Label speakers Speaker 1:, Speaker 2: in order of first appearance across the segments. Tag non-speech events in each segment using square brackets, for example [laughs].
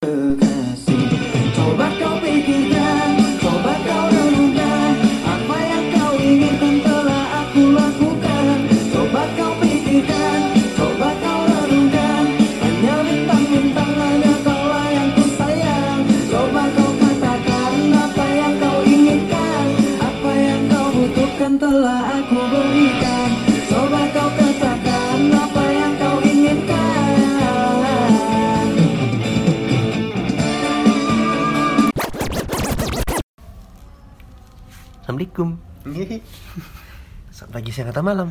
Speaker 1: kekasih Coba kau pikirkan, coba kau renungkan Apa yang kau inginkan telah aku lakukan Coba kau pikirkan, coba kau renungkan Hanya bintang-bintang hanya kaulah yang ku sayang Coba kau katakan apa yang kau inginkan Apa yang kau butuhkan telah aku berikan Coba kau katakan apa yang kau inginkan
Speaker 2: Assalamualaikum [laughs] Selamat pagi, siang, atau malam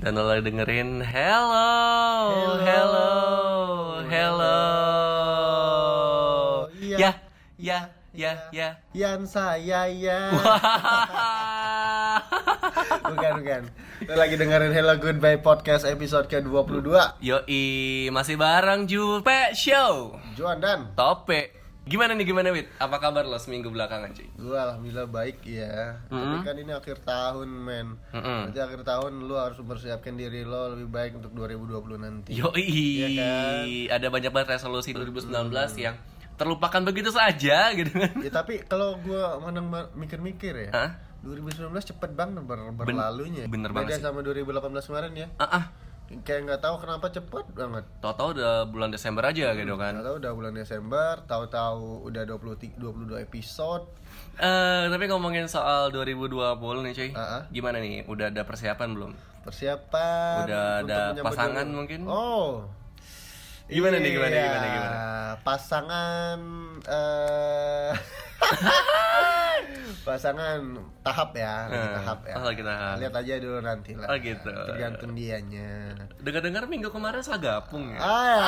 Speaker 3: Dan lo lagi dengerin Hello Hello Hello
Speaker 2: Iya.
Speaker 3: Ya Ya Ya Ya
Speaker 2: [laughs] Yan saya ya
Speaker 3: Wah.
Speaker 2: Bukan, bukan Lu lagi dengerin Hello Goodbye Podcast episode ke-22
Speaker 3: Yoi Masih bareng Jupe Show
Speaker 2: Juan dan
Speaker 3: Tope Gimana nih gimana Wit? Apa kabar lo seminggu belakangan cuy?
Speaker 2: Gue alhamdulillah baik ya Tapi kan ini akhir tahun men
Speaker 3: Mm-mm.
Speaker 2: Berarti akhir tahun lu harus mempersiapkan diri lo lebih baik untuk 2020 nanti
Speaker 3: Yoi
Speaker 2: Iya kan? Hmm.
Speaker 3: Ada banyak banget resolusi 2019 yang terlupakan begitu saja gitu kan
Speaker 2: Ya tapi kalau gua menang mikir-mikir ya
Speaker 3: Hah?
Speaker 2: 2019 cepet banget ber- berlalunya
Speaker 3: bener
Speaker 2: Beda
Speaker 3: banget
Speaker 2: sama 2018 kemarin ya
Speaker 3: Ah ah
Speaker 2: Kayak nggak tahu kenapa cepet banget
Speaker 3: Tau-tau udah bulan Desember aja gitu kan
Speaker 2: Tahu udah bulan Desember, tahu-tahu udah 20 22 episode.
Speaker 3: Eh, tapi ngomongin soal 2020 nih cuy
Speaker 2: Ah, ah.
Speaker 3: Gimana nih? Udah ada persiapan belum?
Speaker 2: Persiapan.
Speaker 3: Udah
Speaker 2: Kan, untuk
Speaker 3: ada
Speaker 2: menyambut
Speaker 3: pasangan
Speaker 2: dulu.
Speaker 3: mungkin?
Speaker 2: Oh.
Speaker 3: Gimana nih, gimana,
Speaker 2: Iya,
Speaker 3: gimana, gimana?
Speaker 2: Pasangan eh [laughs] pasangan tahap ya, lagi
Speaker 3: Eh,
Speaker 2: tahap ya.
Speaker 3: oh, lagi tahap.
Speaker 2: Lihat aja dulu nanti lah.
Speaker 3: Oh, gitu.
Speaker 2: Tergantung
Speaker 3: [laughs]
Speaker 2: dianya.
Speaker 3: Dengar-dengar minggu kemarin gabung ya?
Speaker 2: Ah.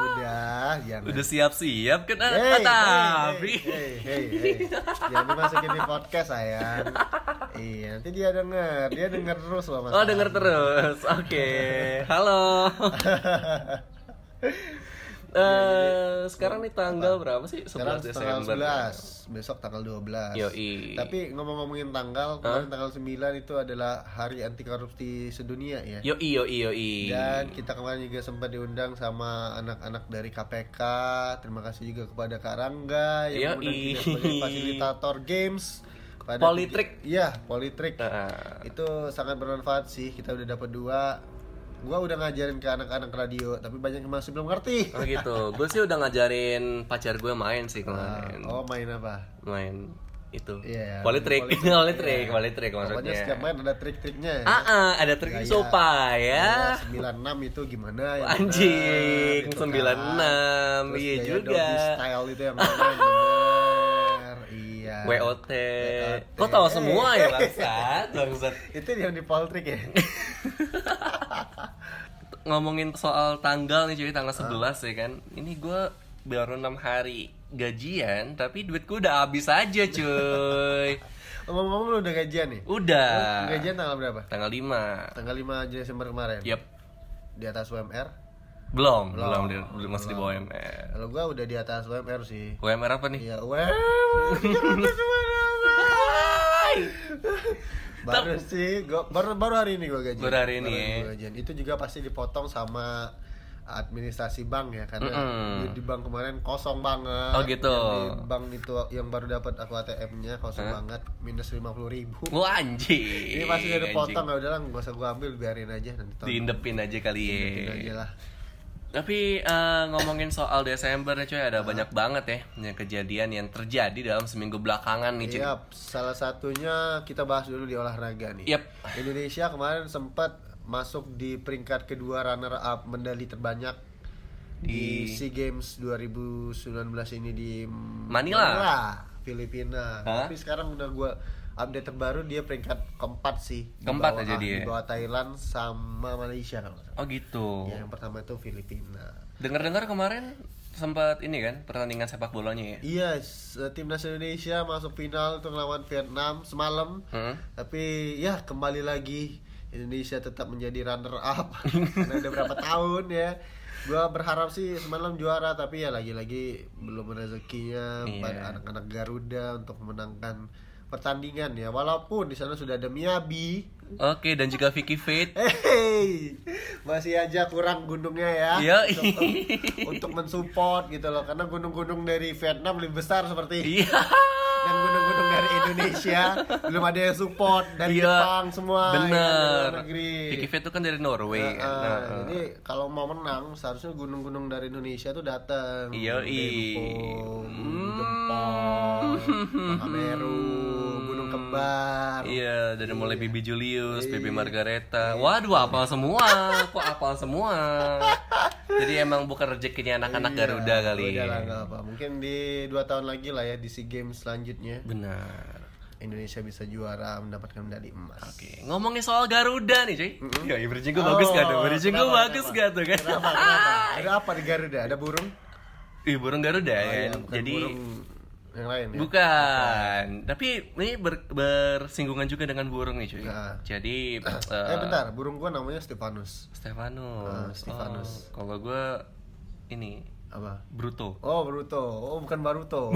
Speaker 2: udah, jangan.
Speaker 3: Udah siap-siap kan? Ah,
Speaker 2: Hey,
Speaker 3: tapi
Speaker 2: hey, hey, hey, hey. Jangan dimasukin di podcast sayang Iya nanti dia denger Dia denger terus loh mas
Speaker 3: Oh denger
Speaker 2: [laughs]
Speaker 3: terus, oke Halo Eh, Sekarang nih tanggal berapa sih? 11
Speaker 2: Sekarang tanggal
Speaker 3: Desember
Speaker 2: 11 Besok tanggal 12
Speaker 3: Yoi.
Speaker 2: Tapi ngomong-ngomongin tanggal Kemarin tanggal 9 itu adalah hari anti korupsi sedunia ya
Speaker 3: Yoi yoi yoi
Speaker 2: Dan kita kemarin juga sempat diundang sama anak-anak dari KPK. Terima kasih juga kepada Kak Rangga
Speaker 3: Yoi.
Speaker 2: yang mengundang kita sebagai fasilitator games. Pada
Speaker 3: Politrik.
Speaker 2: Iya, Politrik.
Speaker 3: Ah.
Speaker 2: Itu sangat bermanfaat sih. Kita udah dapat dua. Gua udah ngajarin ke anak-anak radio, tapi banyak yang masih belum ngerti.
Speaker 3: Oh gitu, gue sih udah ngajarin pacar gue main sih kemarin
Speaker 2: Oh, main apa?
Speaker 3: main itu
Speaker 2: Iya,
Speaker 3: Politrik, [laughs]
Speaker 2: politik.
Speaker 3: Politrik,
Speaker 2: Iya.
Speaker 3: Politrik
Speaker 2: Pokoknya
Speaker 3: maksudnya
Speaker 2: setiap main Iya, ada trik-triknya. ya.
Speaker 3: Ah, ah, ada trik
Speaker 2: Gaya.
Speaker 3: sopa
Speaker 2: Gaya
Speaker 3: ya
Speaker 2: 96 itu gimana yang benar,
Speaker 3: Anjing,
Speaker 2: gitu kan.
Speaker 3: 96,
Speaker 2: Terus
Speaker 3: iya
Speaker 2: gaya
Speaker 3: juga.
Speaker 2: Dolby style itu yang mana yang benar. Iya.
Speaker 3: WOT
Speaker 2: WOT.
Speaker 3: Kok tahu semua ya bangsat Bangsat
Speaker 2: Itu yang di Poltrik ya.
Speaker 3: Ngomongin soal tanggal nih cuy, tanggal 11 ya kan Ini gue baru 6 hari gajian Tapi duitku udah habis aja
Speaker 2: [laughs]
Speaker 3: cuy
Speaker 2: Ngomong-ngomong lu udah gajian nih?
Speaker 3: Udah
Speaker 2: Oh, Gajian tanggal berapa?
Speaker 3: Tanggal 5
Speaker 2: Tanggal 5 Desember kemarin.
Speaker 3: Yep
Speaker 2: Di atas UMR.
Speaker 3: Belum, belum, belum, masih di bawah UMR
Speaker 2: Kalau gua udah di atas UMR sih.
Speaker 3: UMR apa nih?
Speaker 2: Iya,
Speaker 3: iya.
Speaker 2: UMR. baru sih gua, baru baru hari ini gue gajian
Speaker 3: Baru hari ini ya.
Speaker 2: gua gajian. itu juga pasti dipotong sama administrasi bank ya karena
Speaker 3: Mm-mm.
Speaker 2: duit di bank kemarin kosong banget
Speaker 3: Oh, gitu.
Speaker 2: Yang di bank itu yang baru dapat aku ATM-nya kosong banget minus lima puluh ribu
Speaker 3: Wah anjing.
Speaker 2: ini pasti udah
Speaker 3: anjing.
Speaker 2: dipotong ya udahlah nggak usah gue ambil biarin aja nanti tahun
Speaker 3: Diindepin aja kali ya.
Speaker 2: depan aja lah
Speaker 3: Tapi eh, ngomongin soal Desember nih cuy ada banyak banget ya yang kejadian yang terjadi dalam seminggu belakangan nih cuy.
Speaker 2: Iya, salah satunya kita bahas dulu di olahraga nih.
Speaker 3: Yap.
Speaker 2: Indonesia kemarin sempat masuk di peringkat kedua runner up medali terbanyak di, SEA Games 2019 ini di
Speaker 3: Manila.
Speaker 2: Filipina.
Speaker 3: Hah?
Speaker 2: Tapi sekarang udah gua update terbaru dia peringkat keempat sih. Di
Speaker 3: Keempat
Speaker 2: bawah-
Speaker 3: aja dia.
Speaker 2: Di bawah Thailand sama Malaysia kalau nggak salah.
Speaker 3: Oh gitu.
Speaker 2: Ya, yang pertama itu Filipina.
Speaker 3: Dengar-dengar kemarin sempat ini kan pertandingan sepak bolanya ya.
Speaker 2: Iya, s- timnas Indonesia masuk final untuk melawan Vietnam semalam.
Speaker 3: Hmm.
Speaker 2: Tapi ya kembali lagi Indonesia tetap menjadi runner up. Karena udah berapa tahun ya. Gua berharap sih semalam juara tapi ya lagi-lagi belum rezekinya
Speaker 3: Iya.
Speaker 2: pada anak-anak Garuda untuk memenangkan pertandingan ya. Walaupun di sana sudah ada Miyabi.
Speaker 3: Oke, dan juga Vicky Fate.
Speaker 2: Eh, Hey, masih aja kurang gunungnya ya. [laughs]
Speaker 3: Yoi.
Speaker 2: Untuk, untuk mensupport gitu loh, karena gunung-gunung dari Vietnam lebih besar seperti
Speaker 3: Iya.
Speaker 2: dan gunung-gunung dari
Speaker 3: [laughs]
Speaker 2: Indonesia belum ada yang support dari
Speaker 3: Iya.
Speaker 2: Jepang semua. ya, dari
Speaker 3: Bener.
Speaker 2: luar negeri.
Speaker 3: Vicky Fate itu kan dari Norway.
Speaker 2: Nah,
Speaker 3: kan? Nah,
Speaker 2: jadi kalau mau menang seharusnya gunung-gunung dari Indonesia tuh datang.
Speaker 3: Iya, Yoi.
Speaker 2: Dempo, Gunung
Speaker 3: Hmm.
Speaker 2: Jempol, Gunung
Speaker 3: [laughs]
Speaker 2: Hameru, Gunung Kembar.
Speaker 3: Hmm.
Speaker 2: Iya.
Speaker 3: Iya, dari mulai Bibi Julius, Bibi Margareta. Waduh, apal semua. Kok apal semua? Jadi emang bukan rezekinya anak-anak
Speaker 2: Iya,
Speaker 3: Garuda kali.
Speaker 2: Udah lah, nggak apa. Mungkin di dua tahun lagi lah ya di SEA Games selanjutnya
Speaker 3: Benar.
Speaker 2: Indonesia bisa juara mendapatkan medali emas.
Speaker 3: Oke, ngomongin soal Garuda nih, cuy. Ya, ya bridging gue
Speaker 2: Oh,
Speaker 3: bagus gak tuh? Bridging gue
Speaker 2: kenapa,
Speaker 3: bagus
Speaker 2: kenapa?
Speaker 3: gak tuh kan?
Speaker 2: Kenapa? Kenapa? Ada apa di Garuda? Ada burung?
Speaker 3: Ih, burung Garuda
Speaker 2: Oh, iya,
Speaker 3: ya.
Speaker 2: bukan
Speaker 3: Jadi
Speaker 2: burung yang lain ya.
Speaker 3: bukan. Tapi ini ber- bersinggungan juga dengan burung nih, cuy.
Speaker 2: Nah.
Speaker 3: Jadi
Speaker 2: [clears throat] Eh bentar, burung gua namanya Stefanus. Ah,
Speaker 3: Stefanus.
Speaker 2: Stefanus.
Speaker 3: Oh, kalau gue ini
Speaker 2: Apa?
Speaker 3: Bruto.
Speaker 2: [laughs] Oh, Bruto. Oh, bukan
Speaker 3: [laughs]
Speaker 2: Baruto.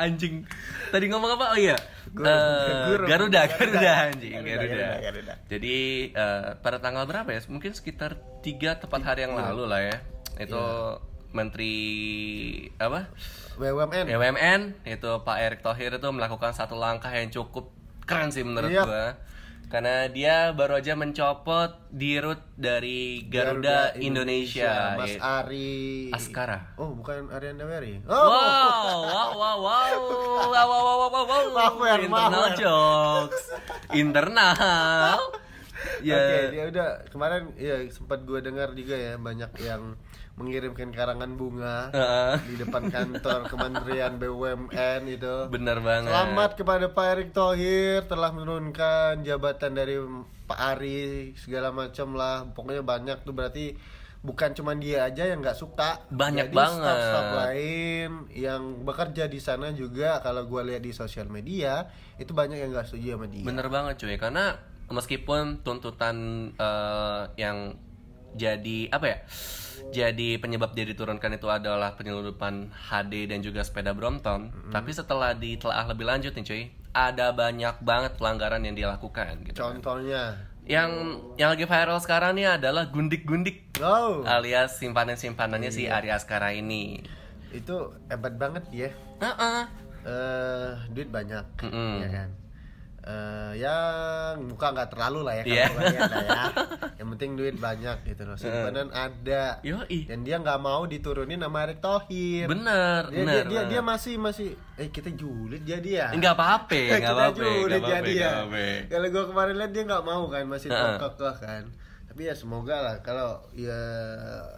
Speaker 3: anjing. Tadi ngomong apa? Oh iya.
Speaker 2: Guru.
Speaker 3: Eh,
Speaker 2: Guru.
Speaker 3: Garuda,
Speaker 2: Garuda.
Speaker 3: Garuda anjing,
Speaker 2: Garuda,
Speaker 3: Garuda.
Speaker 2: Garuda, Garuda.
Speaker 3: Jadi eh, pada tanggal berapa ya? Mungkin sekitar tiga tepat hari
Speaker 2: Iya.
Speaker 3: yang lalu lah ya. Itu Menteri apa? Kan
Speaker 2: BUMN.
Speaker 3: BUMN itu Pak Erick Thohir itu melakukan satu langkah yang cukup keren sih menurut
Speaker 2: Iya.
Speaker 3: gua. Karena dia baru aja mencopot dirut dari Garuda, Indonesia,
Speaker 2: Ya, Mas
Speaker 3: yaitu
Speaker 2: Ari.
Speaker 3: Askara.
Speaker 2: Oh, bukan Arianda Mary.
Speaker 3: Wow,
Speaker 2: Oh,
Speaker 3: wow, wow, wow, wow, wow, wow, wow, wow,
Speaker 2: Maaf, Mer,
Speaker 3: internal
Speaker 2: maaf, Mer.
Speaker 3: jokes, internal. Ya,
Speaker 2: [laughs] Oke, dia udah kemarin ya sempat gue dengar juga ya banyak yang mengirimkan karangan bunga
Speaker 3: Heeh.
Speaker 2: di depan kantor Kementerian BUMN itu.
Speaker 3: bener banget.
Speaker 2: Selamat kepada Pak Erick Thohir telah menurunkan jabatan dari Pak Ari segala macam lah. Pokoknya banyak tuh berarti bukan cuma dia aja yang nggak suka.
Speaker 3: Banyak
Speaker 2: Jadi
Speaker 3: banget.
Speaker 2: Staff-staff lain yang bekerja di sana juga kalau gua lihat di sosial media itu banyak yang nggak setuju sama dia.
Speaker 3: Bener banget cuy, karena meskipun tuntutan eh, yang jadi apa ya? Jadi penyebab dia diturunkan itu adalah penyelundupan HD dan juga sepeda Brompton. Tapi setelah ditelaah lebih lanjut nih cuy, ada banyak banget pelanggaran yang dia lakukan gitu.
Speaker 2: Contohnya,
Speaker 3: Yang yang lagi viral sekarang nih adalah gundik-gundik
Speaker 2: oh
Speaker 3: alias simpanan-simpanannya si
Speaker 2: Iya.
Speaker 3: Ari Askara ini.
Speaker 2: itu hebat banget ya.
Speaker 3: Heeh.
Speaker 2: eh duit banyak,
Speaker 3: Mm-mm.
Speaker 2: ya kan. Eh, yang muka nggak terlalu lah ya kalau
Speaker 3: Iya.
Speaker 2: kebanyakan lah
Speaker 3: [laughs]
Speaker 2: ya. Yang penting duit banyak gitu loh. Simpanan ada.
Speaker 3: Yoi.
Speaker 2: Dan dia nggak mau diturunin sama Erick
Speaker 3: Iya.
Speaker 2: Thohir.
Speaker 3: Bener,
Speaker 2: Dia,
Speaker 3: bener.
Speaker 2: dia, dia, dia
Speaker 3: bener.
Speaker 2: masih masih eh kita julid jadi ya. [laughs]
Speaker 3: Enggak apa-apa, enggak
Speaker 2: kita
Speaker 3: apa-apa,
Speaker 2: julid
Speaker 3: enggak apa-apa,
Speaker 2: jadi ya.
Speaker 3: enggak apa-apa.
Speaker 2: Kalau gua kemarin lihat dia nggak mau kan masih
Speaker 3: Heeh.
Speaker 2: kekeh kan. Tapi ya semoga lah kalau ya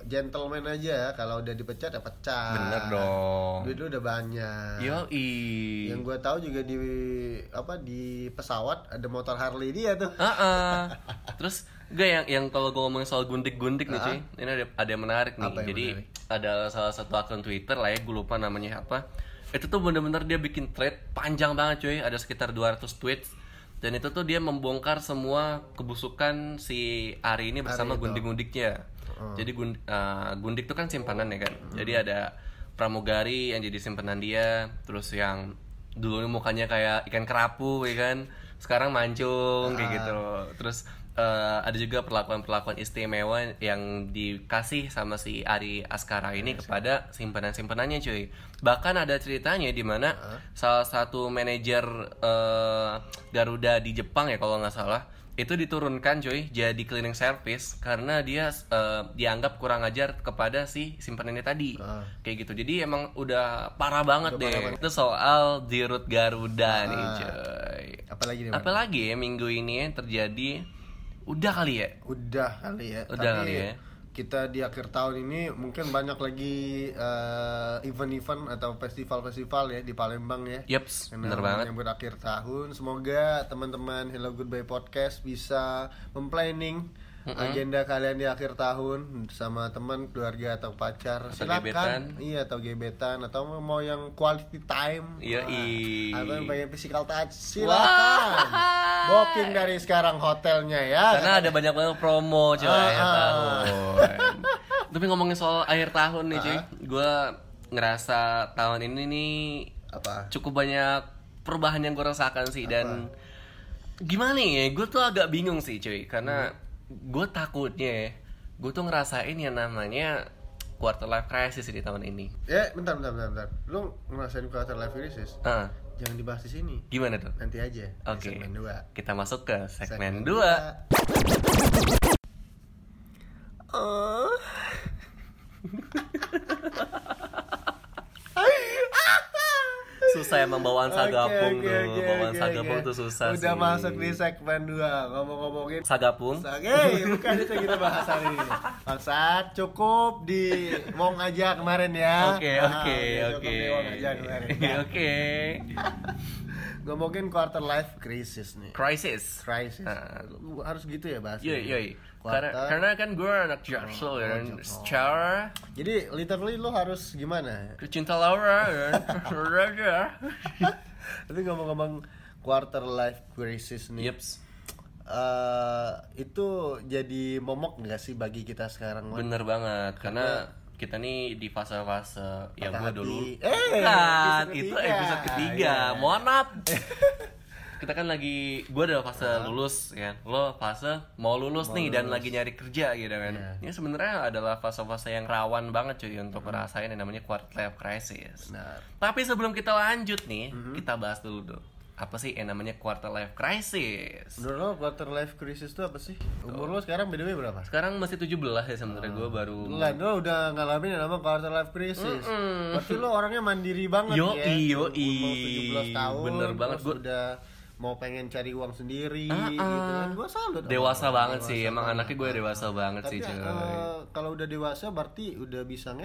Speaker 2: gentleman aja ya. kalau udah dipecat ya pecah.
Speaker 3: Bener dong.
Speaker 2: Duit lu udah banyak
Speaker 3: Yoi.
Speaker 2: yang gue tahu juga di apa di pesawat ada motor Harley dia tuh
Speaker 3: Heeh. Terus gue yang yang kalau gue ngomongin soal gundik-gundik nih cuy, ini ada ada yang menarik nih.
Speaker 2: Apa yang
Speaker 3: Jadi
Speaker 2: menarik?
Speaker 3: ada salah satu akun Twitter lah ya, gue lupa namanya apa. Itu tuh bener-bener dia bikin thread panjang banget cuy, ada sekitar 200 tweets. Dan itu tuh dia membongkar semua kebusukan si Ari ini bersama gundik-gundiknya. Jadi gun- eh, gundik tuh kan simpanan ya kan. Jadi ada pramugari yang jadi simpanan dia, terus yang dulu mukanya kayak ikan kerapu ya kan. Sekarang mancung kayak gitu. Terus eh, ada juga perlakuan-perlakuan istimewa yang dikasih sama si Ari Askara ini kepada simpanan-simpanannya cuy. Bahkan ada ceritanya di mana salah satu manajer eh, Garuda di Jepang ya kalau nggak salah itu diturunkan cuy jadi cleaning service karena dia eh, dianggap kurang ajar kepada si simpanannya tadi kayak gitu jadi emang udah parah banget deh itu soal dirut Garuda nih cuy
Speaker 2: apalagi nih Bang?
Speaker 3: apalagi ya minggu ini yang terjadi udah kali ya
Speaker 2: udah kali ya
Speaker 3: Udah
Speaker 2: tapi
Speaker 3: kali ya.
Speaker 2: kita di akhir tahun ini mungkin banyak lagi eh, event-event atau festival-festival ya di Palembang ya
Speaker 3: yeps
Speaker 2: Karena
Speaker 3: bener banget
Speaker 2: menyambut akhir tahun semoga teman-teman Hello Goodbye Podcast bisa memplanning agenda kalian di akhir tahun sama teman keluarga atau pacar
Speaker 3: Atau
Speaker 2: silakan
Speaker 3: gebetan.
Speaker 2: iya atau gebetan atau mau yang quality time
Speaker 3: Iya, i.
Speaker 2: atau yang pengen physical touch silakan
Speaker 3: Wah.
Speaker 2: booking dari sekarang hotelnya ya
Speaker 3: karena ada banyak banget promo cuy
Speaker 2: Ah,
Speaker 3: akhir
Speaker 2: ah.
Speaker 3: tahun tapi ngomongin soal akhir tahun nih cuy gue ngerasa tahun ini nih
Speaker 2: apa
Speaker 3: cukup banyak perubahan yang gue rasakan sih dan gimana ya gue tuh agak bingung sih cuy karena
Speaker 2: Hmm.
Speaker 3: gue takutnya ya, gue tuh ngerasain yang namanya quarter life crisis di tahun ini
Speaker 2: Ya, bentar, bentar, bentar, bentar. Lu ngerasain quarter life crisis?
Speaker 3: ah
Speaker 2: Jangan dibahas di sini.
Speaker 3: gimana tuh
Speaker 2: Nanti aja. di
Speaker 3: Oke.
Speaker 2: Segmen 2.
Speaker 3: kita masuk ke segmen 2 susah emang bawaan sagapung tuh bawaan sagapung tuh susah
Speaker 2: Udah
Speaker 3: sih.
Speaker 2: masuk di segmen 2 ngomong-ngomongin
Speaker 3: sagapung
Speaker 2: Oke, bukan itu yang kita bahas hari ini. Bangsat, cukup di Wong aja kemarin ya.
Speaker 3: Oke
Speaker 2: Ah,
Speaker 3: oke
Speaker 2: udah cukup
Speaker 3: oke Iya.
Speaker 2: di Wong aja
Speaker 3: [laughs]
Speaker 2: kemarin.
Speaker 3: Oke,
Speaker 2: Nah,
Speaker 3: oke
Speaker 2: Ngomongin quarter life crisis nih.
Speaker 3: crisis
Speaker 2: Crisis.
Speaker 3: Ah.
Speaker 2: Lu harus gitu ya bahasanya.
Speaker 3: yoi yoi
Speaker 2: Quarter.
Speaker 3: Iya, karena, karena kan gue anak jaksel ya
Speaker 2: oh,
Speaker 3: kan
Speaker 2: jaksel.
Speaker 3: secara
Speaker 2: Jadi literally lu harus gimana? [laughs]
Speaker 3: cinta Laura ya kan Raja.
Speaker 2: Tapi ngomong-ngomong quarter life crisis nih.
Speaker 3: yeps
Speaker 2: eh, itu jadi momok nggak sih bagi kita sekarang? Wan?
Speaker 3: bener banget karena kita nih di fase-fase ya
Speaker 2: Patah
Speaker 3: gue
Speaker 2: hati.
Speaker 3: dulu
Speaker 2: Eh,
Speaker 3: Bukan,
Speaker 2: episode
Speaker 3: itu
Speaker 2: ketiga.
Speaker 3: episode ketiga
Speaker 2: Iya.
Speaker 3: mohon
Speaker 2: [laughs]
Speaker 3: maaf kita kan lagi gue udah fase lulus ya lo fase mau lulus nih dan lagi nyari kerja gitu kan
Speaker 2: Iya.
Speaker 3: ini sebenarnya adalah fase-fase yang rawan banget cuy untuk ngerasain yang namanya quarter life crisis
Speaker 2: Benar.
Speaker 3: tapi sebelum kita lanjut nih
Speaker 2: Mhm.
Speaker 3: kita bahas dulu dong apa sih yang namanya quarter life crisis
Speaker 2: Menurut lo quarter life crisis itu apa sih? Umur
Speaker 3: Oh.
Speaker 2: lo sekarang by the way berapa?
Speaker 3: sekarang masih 17 ya sebenarnya
Speaker 2: Ah.
Speaker 3: gue baru
Speaker 2: Lah, lo udah ngalamin yang namanya quarter life crisis. Berarti lo orangnya mandiri banget
Speaker 3: Yoi,
Speaker 2: ya.
Speaker 3: yoi.
Speaker 2: Umur 17 tahun.
Speaker 3: Bener
Speaker 2: terus
Speaker 3: banget, gua-
Speaker 2: udah mau pengen cari uang sendiri
Speaker 3: Ah,
Speaker 2: gitu
Speaker 3: ah.
Speaker 2: kan. Gua salut. sama
Speaker 3: dewasa
Speaker 2: orang
Speaker 3: banget
Speaker 2: dewasa
Speaker 3: sih emang
Speaker 2: banget.
Speaker 3: anaknya gue dewasa banget
Speaker 2: Tapi
Speaker 3: sih cuy
Speaker 2: eh, kalau udah dewasa berarti udah bisa nge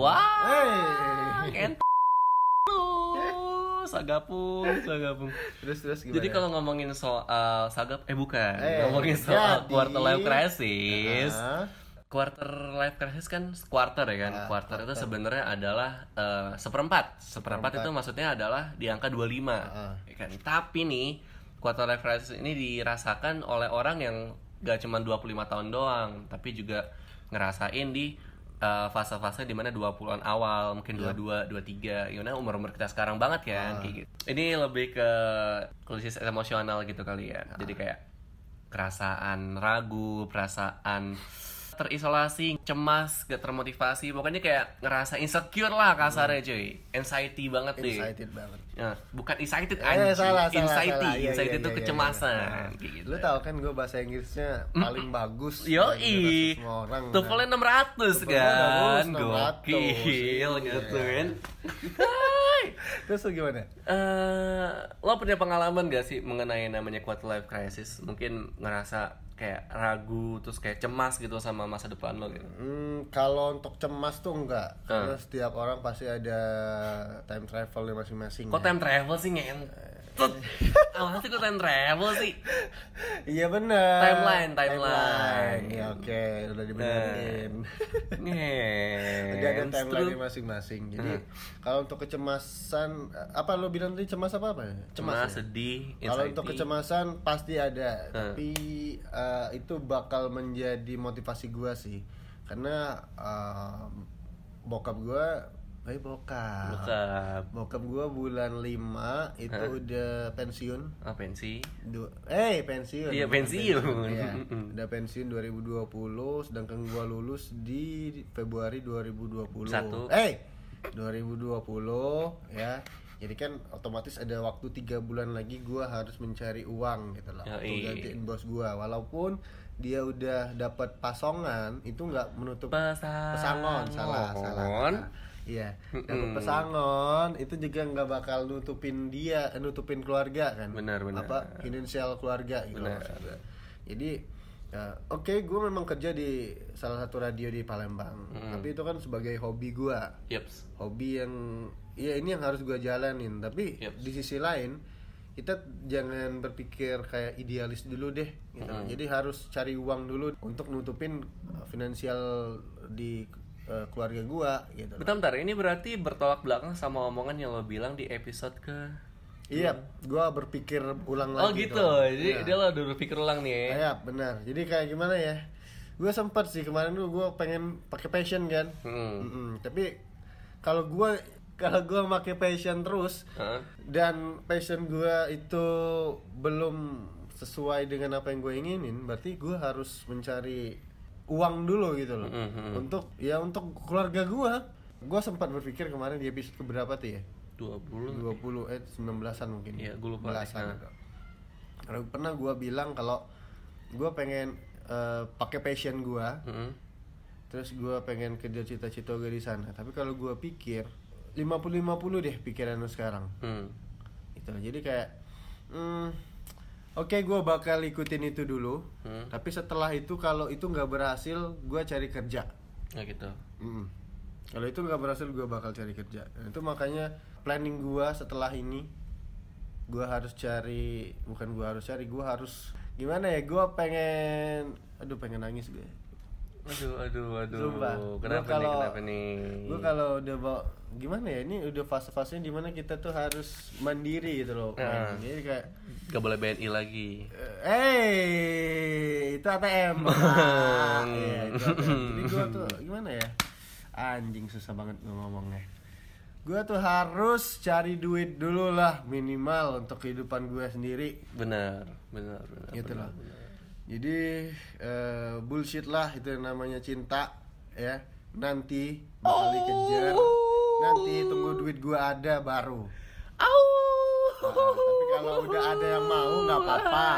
Speaker 3: Ah. wah
Speaker 2: Hey.
Speaker 3: kent sagapung sagapung
Speaker 2: Terus terus gimana?
Speaker 3: jadi kalau ngomongin soal sagap eh bukan
Speaker 2: Eh,
Speaker 3: ngomongin soal
Speaker 2: jadi-
Speaker 3: quarter life crisis
Speaker 2: Ah,
Speaker 3: quarter life crisis kan quarter ya kan
Speaker 2: Ah,
Speaker 3: quarter, itu sebenarnya adalah eh, seperempat. seperempat itu maksudnya adalah di angka 25
Speaker 2: Ah.
Speaker 3: ya kan tapi nih quarter life crisis ini dirasakan oleh orang yang gak cuma 25 tahun doang tapi juga ngerasain di eh, fase-fase dimana 20-an awal mungkin 22, 23 you know umur-umur kita sekarang banget kan kayak gitu. ini lebih ke krisis emosional gitu kali ya jadi kayak perasaan ragu, perasaan terisolasi, cemas, gak termotivasi, pokoknya kayak ngerasa insecure lah kasarnya cuy, anxiety banget deh.
Speaker 2: excited banget.
Speaker 3: Nah, bukan excited,
Speaker 2: Eh,
Speaker 3: anjing.
Speaker 2: salah, salah,
Speaker 3: anxiety,
Speaker 2: salah. Iya,
Speaker 3: anxiety
Speaker 2: iya,
Speaker 3: itu
Speaker 2: iya, iya,
Speaker 3: kecemasan.
Speaker 2: iya.
Speaker 3: Kayak gitu.
Speaker 2: Lu tau kan gue bahasa Inggrisnya paling bagus.
Speaker 3: Yoi,
Speaker 2: dari semua orang. kan?
Speaker 3: tuvelnya 600
Speaker 2: Tuvelnya
Speaker 3: kan,
Speaker 2: 600,
Speaker 3: gokil
Speaker 2: iya.
Speaker 3: gitu kan.
Speaker 2: Terus lu gimana?
Speaker 3: Eh, lo punya pengalaman gak sih mengenai namanya quarter life crisis? Mungkin ngerasa kayak ragu, terus kayak cemas gitu sama masa depan lo gitu.
Speaker 2: Hmm, kalau untuk cemas tuh enggak.
Speaker 3: Ah.
Speaker 2: Karena setiap orang pasti ada time travelnya masing-masing.
Speaker 3: Kok
Speaker 2: ya.
Speaker 3: time travel sih ngentut? Awalnya sih kok time travel sih?
Speaker 2: Iya benar.
Speaker 3: Timeline, timeline.
Speaker 2: Ya, oke, udah [laughs] dibenerin. Udah ada
Speaker 3: Ngentut.
Speaker 2: timeline masing-masing. Jadi kalau untuk kecemasan eh, apa lo bilang tadi cemas apa apa? ya? Cemas.
Speaker 3: Cemas,
Speaker 2: ya?
Speaker 3: sedih,
Speaker 2: Kalau untuk
Speaker 3: anxiety.
Speaker 2: kecemasan pasti ada, tapi eh, itu bakal menjadi motivasi gua sih, karena eh, bokap gua, baik bokap,
Speaker 3: Bokap.
Speaker 2: bokap gua bulan 5 itu udah pensiun,
Speaker 3: Apa sih?
Speaker 2: Du- eh pensiun,
Speaker 3: Iya,
Speaker 2: bukan
Speaker 3: pensiun. [laughs]
Speaker 2: Iya, udah pensiun 2020, sedangkan gua lulus di Februari 2020,
Speaker 3: Satu.
Speaker 2: eh 2020 ya jadi kan otomatis ada waktu tiga bulan lagi gua harus mencari uang gitu lah untuk
Speaker 3: Yoi.
Speaker 2: gantiin bos gua walaupun dia udah dapat pasongan itu nggak menutup
Speaker 3: Pesangon.
Speaker 2: pesangon salah
Speaker 3: Oh.
Speaker 2: salah salah. iya dapat pesangon itu juga nggak bakal nutupin dia eh, nutupin keluarga kan
Speaker 3: Benar, benar.
Speaker 2: apa finansial keluarga gitu
Speaker 3: Benar.
Speaker 2: maksudnya. jadi eh, oke gue memang kerja di salah satu radio di Palembang tapi itu kan sebagai hobi gua
Speaker 3: Yeps.
Speaker 2: hobi yang ya ini yang harus gue jalanin tapi
Speaker 3: Yep.
Speaker 2: di sisi lain kita jangan berpikir kayak idealis dulu deh gitu. jadi harus cari uang dulu untuk nutupin uh, finansial di uh, keluarga gua gitu
Speaker 3: Bentar, bentar. Ini berarti bertolak belakang sama omongan yang lo bilang di episode ke...
Speaker 2: iya gua berpikir ulang
Speaker 3: Mm. Oh
Speaker 2: lagi
Speaker 3: gitu, jadi dia lo udah berpikir ulang nih ya.
Speaker 2: iya benar jadi kayak gimana ya gue sempat sih kemarin tuh gue pengen pakai passion kan
Speaker 3: Hmm.
Speaker 2: Mm-mm. tapi kalau gue [laughs] kalau gue pakai passion terus
Speaker 3: Heeh.
Speaker 2: dan passion gue itu belum sesuai dengan apa yang gue inginin berarti gue harus mencari uang dulu gitu loh
Speaker 3: Mm-hmm.
Speaker 2: untuk ya untuk keluarga gue gue sempat berpikir kemarin di episode keberapa tuh ya
Speaker 3: 20
Speaker 2: 20 eh 19-an mungkin
Speaker 3: Iya, gua lupa.
Speaker 2: belasan
Speaker 3: Nah.
Speaker 2: gitu. Karena pernah gue bilang kalau gue pengen eh, pakai passion gue
Speaker 3: Heeh.
Speaker 2: terus gue pengen kerja cita-cita gue di sana tapi kalau gue pikir 50-50 deh pikiran lu sekarang
Speaker 3: Hmm.
Speaker 2: gitu jadi kayak hmm, oke gue bakal ikutin itu dulu
Speaker 3: Hmm.
Speaker 2: tapi setelah itu kalau itu nggak berhasil gue cari kerja
Speaker 3: Nah gitu.
Speaker 2: Mm. kalau itu nggak berhasil gue bakal cari kerja Nah, itu makanya planning gue setelah ini gue harus cari bukan gue harus cari gue harus gimana ya gue pengen aduh pengen nangis ya. gue
Speaker 3: Aduh, aduh, aduh.
Speaker 2: Sumpah.
Speaker 3: Kenapa
Speaker 2: Gua kalau-
Speaker 3: nih? Kenapa nih?
Speaker 2: gue
Speaker 3: Hmm.
Speaker 2: kalau udah bawa gimana ya ini udah fase-fasenya dimana kita tuh harus mandiri gitu loh
Speaker 3: Nah.
Speaker 2: main. jadi kayak
Speaker 3: Gak boleh BNI lagi.
Speaker 2: eh hey, itu
Speaker 3: [laughs]
Speaker 2: ATM Pak. Iya, itu ATM. jadi gue tuh gimana ya anjing susah banget gua ngomongnya gue tuh harus cari duit dulu lah minimal untuk kehidupan gue sendiri
Speaker 3: Benar, benar, benar.
Speaker 2: gitu
Speaker 3: benar.
Speaker 2: loh jadi eh, bullshit lah itu yang namanya cinta ya nanti bakal dikejar nanti tunggu duit gua ada baru
Speaker 3: Au. [laughs]
Speaker 2: Nah, tapi kalau udah ada yang mau nggak apa-apa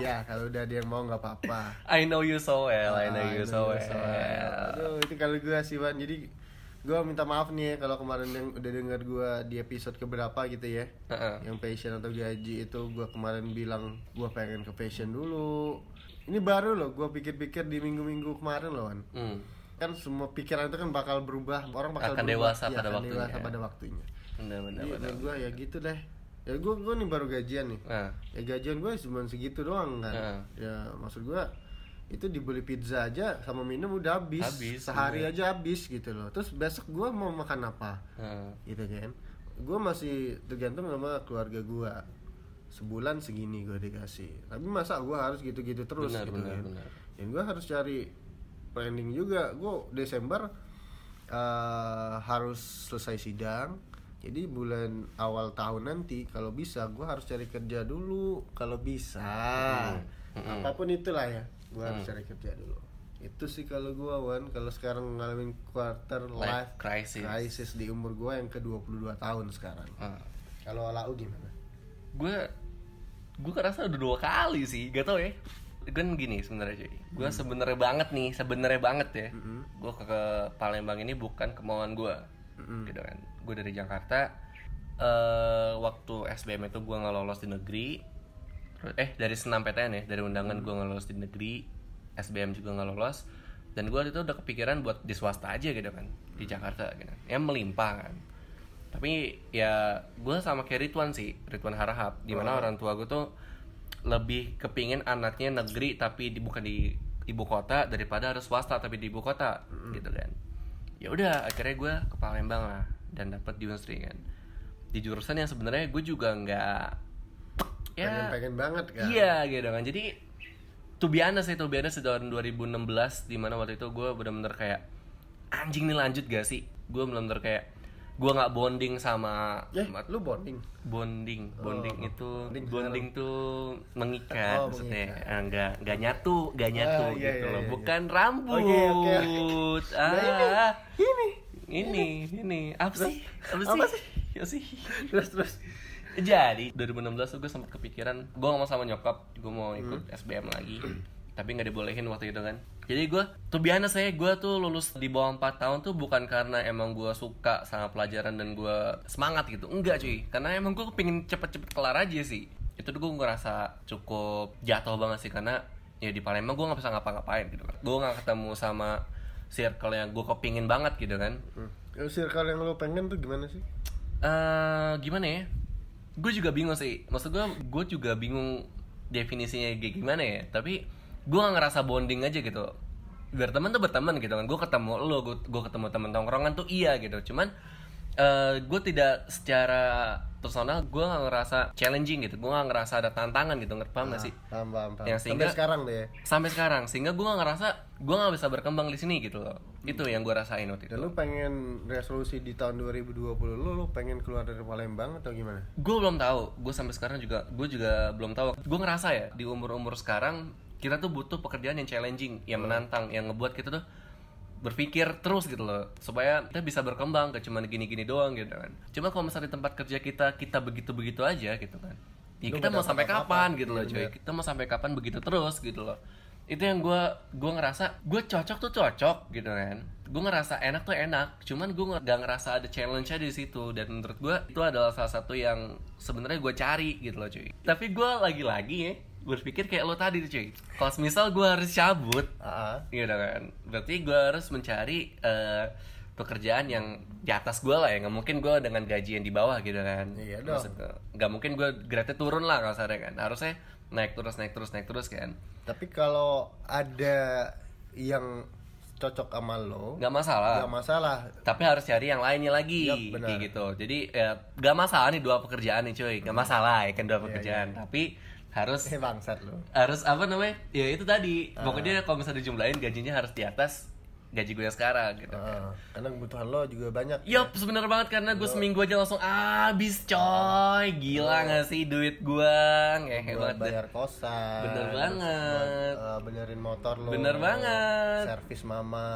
Speaker 2: iya kalau udah ada yang mau nggak apa-apa
Speaker 3: I know you so well, I know
Speaker 2: Ah,
Speaker 3: you so well.
Speaker 2: Aduh, itu kalau gua sih Wan jadi gua minta maaf nih ya kalau kemarin yang udah denger gua di episode keberapa gitu ya
Speaker 3: Heeh.
Speaker 2: yang passion atau gaji itu gua kemarin bilang gua pengen ke passion dulu ini baru loh gua pikir-pikir di minggu-minggu kemarin loh Wan
Speaker 3: Hmm.
Speaker 2: kan semua pikiran itu kan bakal berubah orang bakal
Speaker 3: Akan
Speaker 2: berubah.
Speaker 3: dewasa
Speaker 2: Iya,
Speaker 3: pada
Speaker 2: akan
Speaker 3: waktunya.
Speaker 2: dewasa pada waktunya
Speaker 3: Benar, benar,
Speaker 2: Jadi,
Speaker 3: benar.
Speaker 2: menurut gua ya gitu deh ya gua gua nih baru gajian nih
Speaker 3: Nah,
Speaker 2: ya gajian gue cuma segitu doang kan
Speaker 3: Heeh.
Speaker 2: ya maksud gue itu dibeli pizza aja sama minum udah habis,
Speaker 3: Habis, iya.
Speaker 2: sehari
Speaker 3: bener.
Speaker 2: aja habis gitu loh terus besok gue mau makan apa
Speaker 3: nah.
Speaker 2: gitu kan gue masih tergantung sama keluarga gue sebulan segini gue dikasih tapi masa gue harus gitu-gitu terus
Speaker 3: Benar,
Speaker 2: gitu
Speaker 3: benar,
Speaker 2: kan
Speaker 3: benar.
Speaker 2: dan gue harus cari planning juga gue Desember eh, harus selesai sidang jadi bulan awal tahun nanti kalau bisa gue harus cari kerja dulu kalau bisa apapun itulah ya gue harus cari kerja dulu itu sih kalau gue Wan kalau sekarang ngalamin quarter life,
Speaker 3: Life crisis.
Speaker 2: crisis di umur gue yang ke 22 tahun sekarang
Speaker 3: Ah.
Speaker 2: kalau Lau gimana?
Speaker 3: gue gue kerasa udah dua kali sih gak tau ya kan gini sebenarnya cuy gue sebenarnya banget nih sebenarnya banget ya gue ke, ke Palembang ini bukan kemauan gue gitu kan gue dari Jakarta eh waktu SBM itu gue nggak lolos di negeri Terus- eh dari SNMPTN ya dari undangan gue nggak lolos di negeri SBM juga nggak lolos dan gue itu udah kepikiran buat di swasta aja gitu kan di Jakarta gitu kan ya melimpah kan tapi ya gue sama kayak Ridwan sih Ridwan Harahap dimana orang tua gue tuh lebih kepingin anaknya negeri tapi di, bukan di ibu kota daripada harus swasta tapi di ibu kota gitu kan ya udah akhirnya gue ke Palembang lah dan dapet di Unsri kan di jurusan yang sebenarnya gue juga nggak
Speaker 2: pengen pengen banget kan?
Speaker 3: Ya. Iya gitu kan. Jadi to be honest itu be honest, di tahun 2016 di mana waktu itu gue bener-bener kayak anjing nih lanjut gak sih? Gue bener-bener kayak gue nggak bonding sama
Speaker 2: Eh,
Speaker 3: sama-
Speaker 2: lu bonding?
Speaker 3: bonding bonding itu
Speaker 2: bonding
Speaker 3: bonding,
Speaker 2: sekarang.
Speaker 3: tuh mengikat
Speaker 2: Oh,
Speaker 3: maksudnya
Speaker 2: mengikat.
Speaker 3: Eh, nggak nggak nyatu nggak nyatu
Speaker 2: iya,
Speaker 3: gitu
Speaker 2: iya,
Speaker 3: loh
Speaker 2: iya,
Speaker 3: bukan
Speaker 2: Oke,
Speaker 3: rambut
Speaker 2: oke,
Speaker 3: ah ini
Speaker 2: Ini
Speaker 3: ini apa sih apa
Speaker 2: Apa
Speaker 3: sih apa sih
Speaker 2: terus terus
Speaker 3: jadi 2016 tuh gue sempat kepikiran gue ngomong sama nyokap gue mau
Speaker 2: Hmm.
Speaker 3: ikut SBM lagi tapi nggak dibolehin waktu itu kan jadi gue tuh biasa saya gue ya, tuh lulus di bawah 4 tahun tuh bukan karena emang gue suka sama pelajaran dan gue semangat gitu enggak cuy karena emang gue pengen cepet-cepet kelar aja sih itu tuh gue ngerasa cukup jatuh banget sih karena ya di Palembang gue nggak bisa ngapa-ngapain gitu kan gue nggak ketemu sama circle yang gue kepingin banget gitu kan
Speaker 2: Hmm. Lu circle yang lu pengen tuh gimana sih?
Speaker 3: eh gimana ya? Gue juga bingung sih. Maksud gue, gue juga bingung definisinya kayak gimana ya. Tapi gue gak ngerasa bonding aja gitu. Berteman tuh berteman gitu kan. Gue ketemu lo, gue ketemu temen tongkrongan tuh iya gitu. Cuman eh gue tidak secara personal gue nggak ngerasa challenging gitu gue nggak ngerasa ada tantangan gitu ngerti paham nggak sih
Speaker 2: paham paham paham
Speaker 3: Yang
Speaker 2: sampai
Speaker 3: sehingga-
Speaker 2: sekarang deh ya.
Speaker 3: sampai sekarang sehingga gue nggak ngerasa gue nggak bisa berkembang di sini gitu loh itu yang gue rasain waktu itu
Speaker 2: dan lu pengen resolusi di tahun 2020 lu lu pengen keluar dari Palembang atau gimana
Speaker 3: gue belum tahu gue sampai sekarang juga gue juga belum tahu gue ngerasa ya di umur umur sekarang kita tuh butuh pekerjaan yang challenging yang menantang yang ngebuat kita tuh berpikir terus gitu loh supaya kita bisa berkembang gak cuma gini-gini doang gitu kan cuma kalau misalnya di tempat kerja kita kita begitu-begitu aja gitu kan ya
Speaker 2: Lu
Speaker 3: kita
Speaker 2: nggak
Speaker 3: mau
Speaker 2: dapat
Speaker 3: sampai
Speaker 2: apa-apa.
Speaker 3: kapan gitu loh
Speaker 2: Iya,
Speaker 3: cuy
Speaker 2: bener.
Speaker 3: kita mau sampai kapan begitu terus gitu loh itu yang gue gue ngerasa gue cocok tuh cocok gitu kan gue ngerasa enak tuh enak cuman gue gak ngerasa ada challenge nya di situ dan menurut gue itu adalah salah satu yang sebenarnya gue cari gitu loh cuy tapi gue lagi-lagi ya berpikir kayak lo tadi tuh cuy kalau misal gue harus cabut
Speaker 2: Aa.
Speaker 3: Iya dong kan. Berarti gue harus mencari eh, pekerjaan yang di atas gue lah ya. Nggak mungkin gue dengan gaji yang di bawah gitu kan.
Speaker 2: Iya dong.
Speaker 3: Maksud gua, Nggak mungkin gue grade turun lah kasarnya kan. Harusnya naik terus, naik terus, naik terus kan.
Speaker 2: tapi kalau ada yang cocok sama lo
Speaker 3: Nggak masalah.
Speaker 2: nggak masalah
Speaker 3: Tapi harus cari yang lainnya lagi
Speaker 2: Yap, Iya. benar.
Speaker 3: kayak gitu. Jadi ya, nggak masalah nih dua pekerjaan nih cuy. Nggak masalah ya kan
Speaker 2: Iya,
Speaker 3: dua pekerjaan. Tapi harus
Speaker 2: eh bangsat lo
Speaker 3: harus apa namanya? Ya itu tadi. Pokoknya
Speaker 2: Ah.
Speaker 3: kalau misalnya dijumlahin gajinya harus di atas gaji gue yang sekarang gitu.
Speaker 2: Aa, Ah, karena kebutuhan lo juga banyak
Speaker 3: Yup, sebenernya banget karena gue seminggu aja langsung abis coy Gila gak sih duit gue Ngehe
Speaker 2: buat
Speaker 3: banget deh.
Speaker 2: bayar kosan
Speaker 3: Bener
Speaker 2: terus
Speaker 3: banget.
Speaker 2: buat, eh, benerin motor lo
Speaker 3: Bener banget.
Speaker 2: servis mama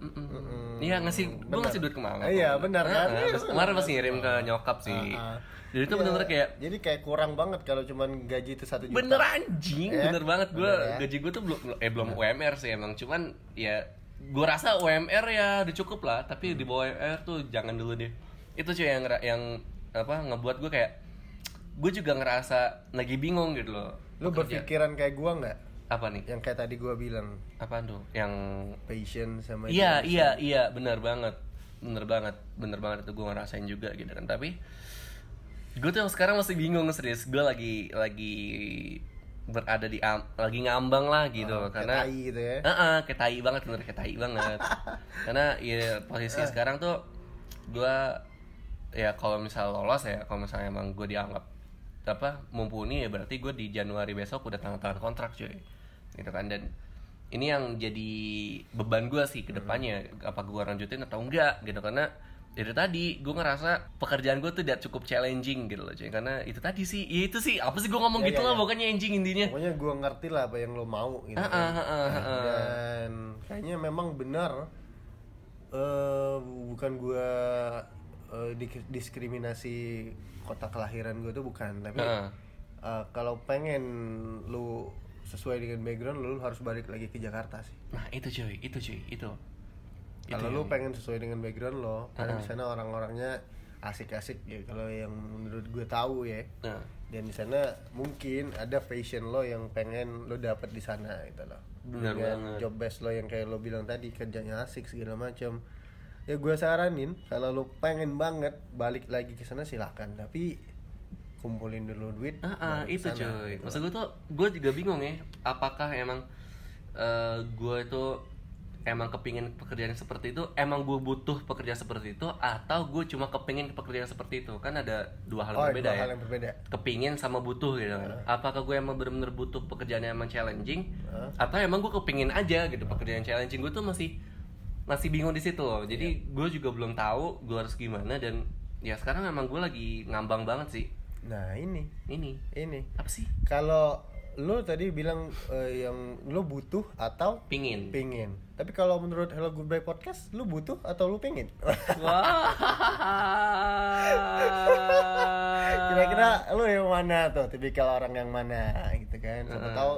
Speaker 2: Mm-mm.
Speaker 3: Iya ngasih, gue
Speaker 2: Bener.
Speaker 3: ngasih duit ke mama
Speaker 2: Eh, iya, benar kan?
Speaker 3: Heeh, terus kemarin pas ngirim ke nyokap sih
Speaker 2: Ah, ah.
Speaker 3: Jadi itu
Speaker 2: Iya,
Speaker 3: bener-bener kayak
Speaker 2: jadi kayak kurang banget kalau cuman gaji itu satu juta
Speaker 3: Bener anjing,
Speaker 2: Ya,
Speaker 3: bener banget gue
Speaker 2: bener ya. Iya.
Speaker 3: Gaji gue tuh belum, eh belum UMR sih emang Cuman ya gue rasa UMR ya udah cukup lah Tapi
Speaker 2: Hmm.
Speaker 3: di bawah UMR tuh jangan dulu deh Itu cuy yang, ngera- yang apa ngebuat gue kayak Gue juga ngerasa lagi bingung gitu loh
Speaker 2: lu
Speaker 3: Bekerja.
Speaker 2: berpikiran kayak gua nggak
Speaker 3: apa nih
Speaker 2: yang kayak tadi gua bilang
Speaker 3: apaan tuh yang
Speaker 2: patient sama
Speaker 3: iya iya iya benar banget benar banget benar banget itu gue ngerasain juga gitu kan tapi gue tuh sekarang masih bingung serius gue lagi lagi berada di am- lagi ngambang lah gitu
Speaker 2: karena
Speaker 3: karena
Speaker 2: tai gitu ya
Speaker 3: Heeh, kayak tai banget bener kayak tai banget. Karena ya posisi sekarang tuh gua ya kalau misal lolos ya, kalau misalnya emang gue dianggap apa mumpuni ya berarti gue di Januari besok udah tanda tangan kontrak cuy. Gitu kan dan ini yang jadi beban gua sih ke depannya apa gua lanjutin atau enggak gitu karena dari tadi gue ngerasa pekerjaan gue tuh tidak cukup challenging gitu loh cuy karena itu tadi sih ya itu sih apa sih gue ngomong
Speaker 2: Ya,
Speaker 3: gitu
Speaker 2: ya,
Speaker 3: lah
Speaker 2: ya.
Speaker 3: pokoknya anjing intinya
Speaker 2: pokoknya gua ngerti lah apa yang lo mau gitu
Speaker 3: Heeh,
Speaker 2: kan.
Speaker 3: heeh, heeh.
Speaker 2: dan kayaknya memang benar eh bukan gua eh, di- diskriminasi kota kelahiran gua tuh bukan tapi
Speaker 3: Heeh.
Speaker 2: eh, kalau pengen lu sesuai dengan background lu, lu harus balik lagi ke Jakarta sih
Speaker 3: nah itu cuy itu cuy itu Itu
Speaker 2: kalau
Speaker 3: yang- Ah.
Speaker 2: lu pengen sesuai dengan background lo karena di sana orang-orangnya asik-asik ya kalau yang menurut gue tahu ya
Speaker 3: Nah,
Speaker 2: dan di sana mungkin ada passion lo yang pengen lo dapat di sana gitu loh
Speaker 3: Bener
Speaker 2: Dan
Speaker 3: banget.
Speaker 2: job best lo yang kayak lo bilang tadi kerjanya asik segala macam ya gue saranin kalau lo pengen banget balik lagi ke sana silakan tapi kumpulin dulu duit
Speaker 3: ah, ah,
Speaker 2: baru ke
Speaker 3: itu
Speaker 2: sana,
Speaker 3: cuy.
Speaker 2: gitu.
Speaker 3: Maksud gue tuh, gue juga bingung ya. Apakah emang eh, gue itu emang kepingin pekerjaan seperti itu? Emang gue butuh pekerjaan seperti itu? Atau gue cuma kepingin pekerjaan seperti itu? Kan ada dua hal
Speaker 2: oh
Speaker 3: yang berbeda
Speaker 2: dua
Speaker 3: ya.
Speaker 2: hal yang berbeda
Speaker 3: Kepingin sama butuh gitu kan. Apakah gue emang bener-bener butuh pekerjaan yang emang challenging? Atau emang gue kepingin aja gitu pekerjaan challenging? Gue tuh masih masih bingung di situ loh. Jadi gue juga belum tahu gue harus gimana dan ya sekarang emang gue lagi ngambang banget sih
Speaker 2: nah ini
Speaker 3: ini
Speaker 2: ini
Speaker 3: apa sih
Speaker 2: kalau lo tadi bilang eh, yang lo butuh atau
Speaker 3: pingin
Speaker 2: pingin tapi kalau menurut Hello Goodbye Podcast lo butuh atau lo pingin [laughs]
Speaker 3: wah
Speaker 2: kira-kira lu yang mana tuh tipikal orang yang mana gitu kan siapa tahu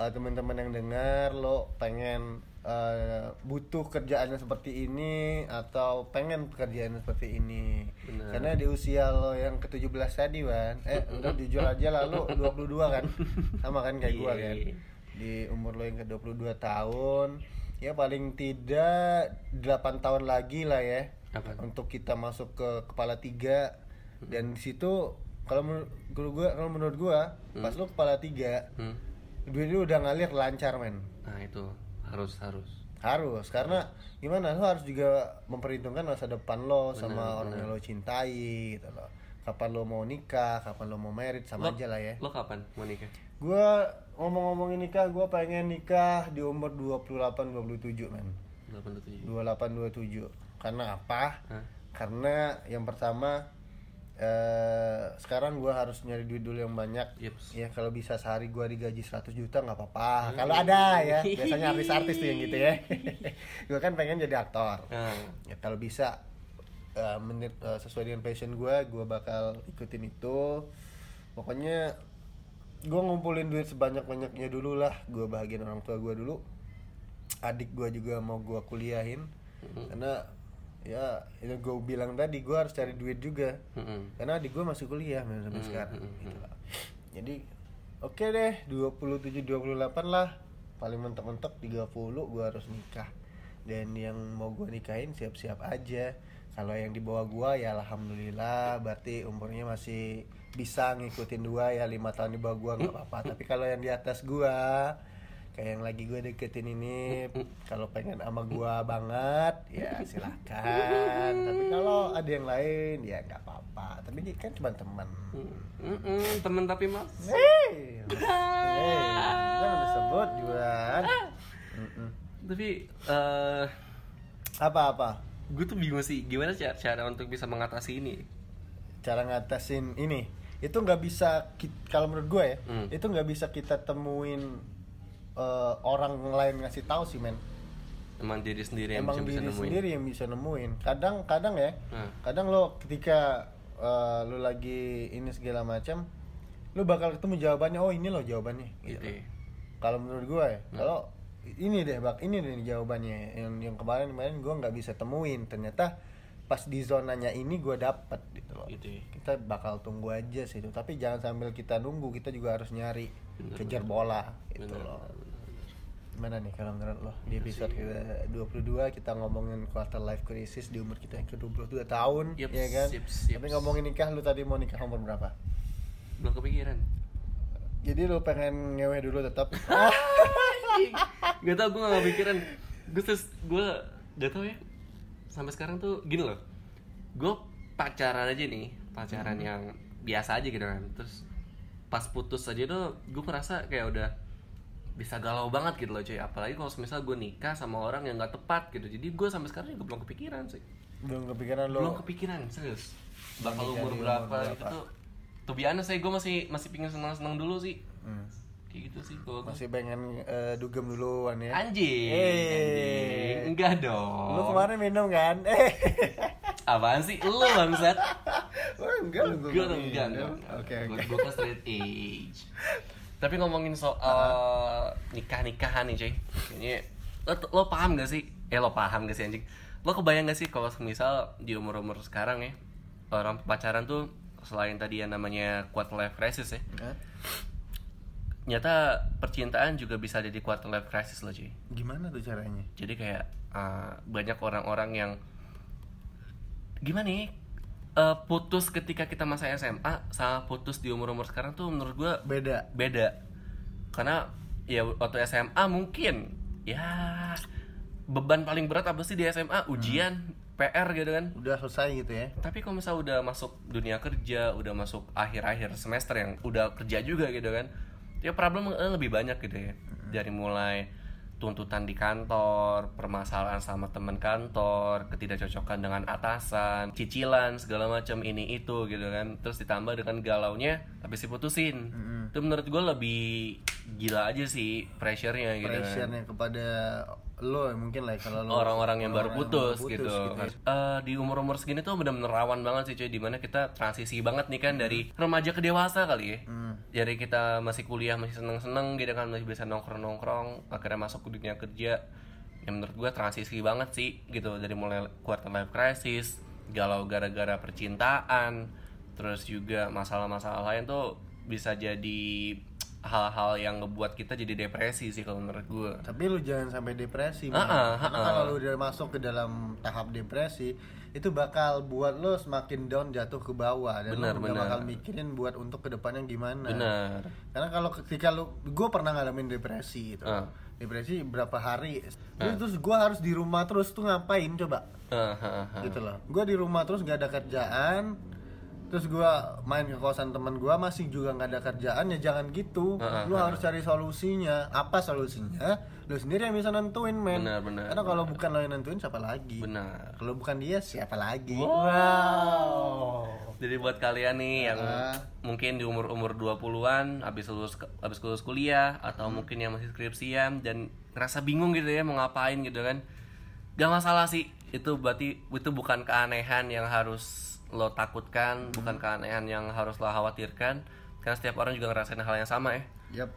Speaker 2: uh, teman-teman yang dengar lo pengen uh, butuh kerjaan yang seperti ini atau pengen pekerjaan yang seperti ini
Speaker 3: Bener.
Speaker 2: karena di usia lo yang ke-17 tadi kan eh enggak jujur aja lah lo 22 kan sama kan kayak gua kan
Speaker 3: Iya.
Speaker 2: di umur lo yang ke-22 tahun ya paling tidak 8 tahun lagi lah ya
Speaker 3: Apa? Hmm.
Speaker 2: untuk kita masuk ke kepala tiga dan di situ kalau menurut kalau gua kalau menurut gua pas lu kepala tiga
Speaker 3: Hmm.
Speaker 2: duit lu udah ngalir lancar men
Speaker 3: nah itu harus harus
Speaker 2: Harus, karena gimana lo harus juga memperhitungkan masa depan lo sama orang yang lo cintai gitu loh. Kapan lo mau nikah, kapan lo mau merit sama aja lah ya.
Speaker 3: Lo kapan mau nikah?
Speaker 2: Gua ngomong-ngomongin nikah, gua pengen nikah di umur 28 27, men.
Speaker 3: 87.
Speaker 2: 28 27. Karena apa?
Speaker 3: Hah?
Speaker 2: Karena yang pertama eh sekarang gua harus nyari duit dulu yang banyak.
Speaker 3: Yeps.
Speaker 2: Ya kalau bisa sehari gua digaji 100 juta nggak
Speaker 3: Hmm.
Speaker 2: apa-apa. Kalau ada ya, biasanya artis-artis tuh yang gitu
Speaker 3: [laughs]
Speaker 2: ya. gua kan pengen jadi aktor.
Speaker 3: Nah,
Speaker 2: Ya kalau bisa eh, menir- eh, sesuai dengan passion gua, gua bakal ikutin itu. Pokoknya gua ngumpulin duit sebanyak-banyaknya dulu lah. Gua bahagian orang tua gua dulu. Adik gua juga mau gua kuliahin. Karena ya itu gue bilang tadi gua harus cari duit juga
Speaker 3: mm-mm.
Speaker 2: karena adik gue masih kuliah men, sampai sekarang gitu lah. jadi oke deh 27 28 lah paling mentok-mentok 30 gue harus nikah dan yang mau gue nikahin siap-siap aja kalau yang di bawah gue ya alhamdulillah berarti umurnya masih bisa ngikutin dua ya lima tahun di bawah gue nggak apa-apa tapi kalau yang di atas gue kayak yang lagi gue deketin ini kalau pengen sama gua banget ya silahkan tapi kalau ada yang lain ya nggak apa-apa tapi dia kan cuma teman
Speaker 3: Mm-mm, Temen tapi mas.
Speaker 2: hey, hey, jangan disebut Juan
Speaker 3: Tapi eh
Speaker 2: apa-apa
Speaker 3: gue tuh bingung sih gimana sih cara untuk bisa mengatasi ini.
Speaker 2: cara ngatasin ini itu nggak bisa ki- kalau menurut gue ya
Speaker 3: Hmm.
Speaker 2: itu nggak bisa kita temuin eh, orang lain ngasih tahu sih men
Speaker 3: Emang diri sendiri yang
Speaker 2: emang
Speaker 3: bisa, bisa
Speaker 2: diri
Speaker 3: nemuin.
Speaker 2: sendiri yang bisa nemuin kadang kadang ya
Speaker 3: Hmm.
Speaker 2: kadang lo ketika eh, lo lagi ini segala macam lo bakal ketemu jawabannya oh ini lo jawabannya
Speaker 3: Gitu.
Speaker 2: gitu kalau menurut gua ya kalau ini deh bak ini deh jawabannya yang yang kemarin kemarin gua nggak bisa temuin ternyata pas di zonanya ini gua dapet gitu loh
Speaker 3: Gitu.
Speaker 2: kita bakal tunggu aja sih itu tapi jangan sambil kita nunggu kita juga harus nyari
Speaker 3: Bener,
Speaker 2: kejar bola gitu
Speaker 3: Bener,
Speaker 2: loh
Speaker 3: bener,
Speaker 2: Gimana nih kalau menurut lo di episode kita 22 kita ngomongin quarter life crisis di umur kita yang ke-22 tahun
Speaker 3: Yeps,
Speaker 2: ya kan?
Speaker 3: yeps,
Speaker 2: Tapi
Speaker 3: yeps.
Speaker 2: ngomongin nikah lu tadi mau nikah umur berapa?
Speaker 3: Belum kepikiran.
Speaker 2: Jadi lu pengen ngewe dulu tetap.
Speaker 3: gak tau gue gak kepikiran. Gue terus gue gak tau ya. Sampai sekarang tuh gini loh. Gue pacaran aja nih, pacaran yang biasa aja gitu kan. Terus pas putus aja tuh gue merasa kayak udah bisa galau banget gitu loh cuy apalagi kalau misal gue nikah sama orang yang nggak tepat gitu jadi gue sampai sekarang juga belum kepikiran sih
Speaker 2: belum kepikiran lo
Speaker 3: belum kepikiran serius bakal
Speaker 2: Menikah
Speaker 3: umur
Speaker 2: di umur
Speaker 3: berapa,
Speaker 2: berapa?
Speaker 3: gitu tuh tuh biasa saya gue masih masih pingin senang senang dulu sih
Speaker 2: Hmm.
Speaker 3: kayak gitu sih kalau gua.
Speaker 2: masih pengen eh, dugem duluan ya.
Speaker 3: anjing
Speaker 2: Eh.
Speaker 3: anjing enggak dong
Speaker 2: Lu kemarin minum kan? [laughs] Eh.
Speaker 3: apaan sih lu bangsat
Speaker 2: Oh, enggak lu
Speaker 3: gue enggak dong
Speaker 2: Oke oke.
Speaker 3: gue kan straight age tapi ngomongin soal nikah nikahan nih cuy ini lo, lo paham gak sih eh lo paham gak sih anjing lo kebayang gak sih kalau misal di umur umur sekarang ya orang pacaran tuh selain tadi yang namanya quarter life crisis ya
Speaker 2: Hah?
Speaker 3: nyata percintaan juga bisa jadi quarter life crisis loh cuy
Speaker 2: Gimana tuh caranya?
Speaker 3: jadi kayak uh, banyak orang-orang yang gimana nih uh, putus ketika kita masa SMA sama putus di umur-umur sekarang tuh menurut gua
Speaker 2: Beda.
Speaker 3: beda karena ya waktu SMA mungkin ya beban paling berat apa sih di SMA ujian PR gitu kan
Speaker 2: Udah selesai gitu ya.
Speaker 3: tapi kalau misalnya udah masuk dunia kerja udah masuk akhir-akhir semester yang udah kerja juga gitu kan ya problem eh, lebih banyak gitu ya dari mulai tuntutan di kantor permasalahan sama teman kantor ketidakcocokan dengan atasan cicilan segala macam ini itu gitu kan terus ditambah dengan galaunya habis diputusin itu menurut gue lebih gila aja sih pressure-nya gitu kan
Speaker 2: Pressure-nya kepada lo ya, mungkin lah kalau lo
Speaker 3: orang-orang yang baru putus,
Speaker 2: orang-orang yang baru
Speaker 3: gitu.
Speaker 2: ya.
Speaker 3: Eh, di umur-umur segini tuh benar-benar rawan banget sih cuy dimana kita transisi banget nih kan dari
Speaker 2: Hmm.
Speaker 3: remaja ke dewasa kali ya. Dari kita masih kuliah masih seneng-seneng gitu kan masih bisa nongkrong-nongkrong akhirnya masuk ke dunia kerja. Ya menurut gua transisi banget sih gitu dari mulai quarter life crisis, galau gara-gara percintaan, terus juga masalah-masalah lain tuh bisa jadi hal-hal yang ngebuat kita jadi depresi sih kalau menurut gua.
Speaker 2: Tapi lu jangan sampai depresi.
Speaker 3: Ah,
Speaker 2: Man.
Speaker 3: ah,
Speaker 2: Karena
Speaker 3: ah,
Speaker 2: kalau lu udah masuk ke dalam tahap depresi, itu bakal buat lo semakin down jatuh ke bawah dan
Speaker 3: Benar,
Speaker 2: lo udah
Speaker 3: benar.
Speaker 2: bakal mikirin buat untuk kedepannya gimana.
Speaker 3: Benar.
Speaker 2: Karena kalau ketika lu, gue pernah ngalamin depresi gitu.
Speaker 3: Ah.
Speaker 2: depresi berapa hari Terus- terus gua harus di rumah terus tuh ngapain coba
Speaker 3: Ah, ah, ah.
Speaker 2: gitu loh gue di rumah terus nggak ada kerjaan terus gua main ke kosan teman gua masih juga nggak ada kerjaan ya jangan gitu
Speaker 3: Heeh,
Speaker 2: lu harus cari solusinya apa solusinya lu sendiri yang bisa nentuin men
Speaker 3: Benar, benar.
Speaker 2: karena kalau bukan lo yang nentuin siapa lagi
Speaker 3: Benar.
Speaker 2: kalau bukan dia siapa lagi wow,
Speaker 3: Jadi buat kalian nih yang
Speaker 2: Ah.
Speaker 3: mungkin di umur-umur 20-an habis lulus habis lulus kuliah atau mungkin yang masih skripsian dan ngerasa bingung gitu ya mau ngapain gitu kan. Gak masalah sih. Itu berarti itu bukan keanehan yang harus lo takutkan, bukan keanehan yang harus lo khawatirkan karena setiap orang juga ngerasain hal yang sama ya.
Speaker 2: Yap.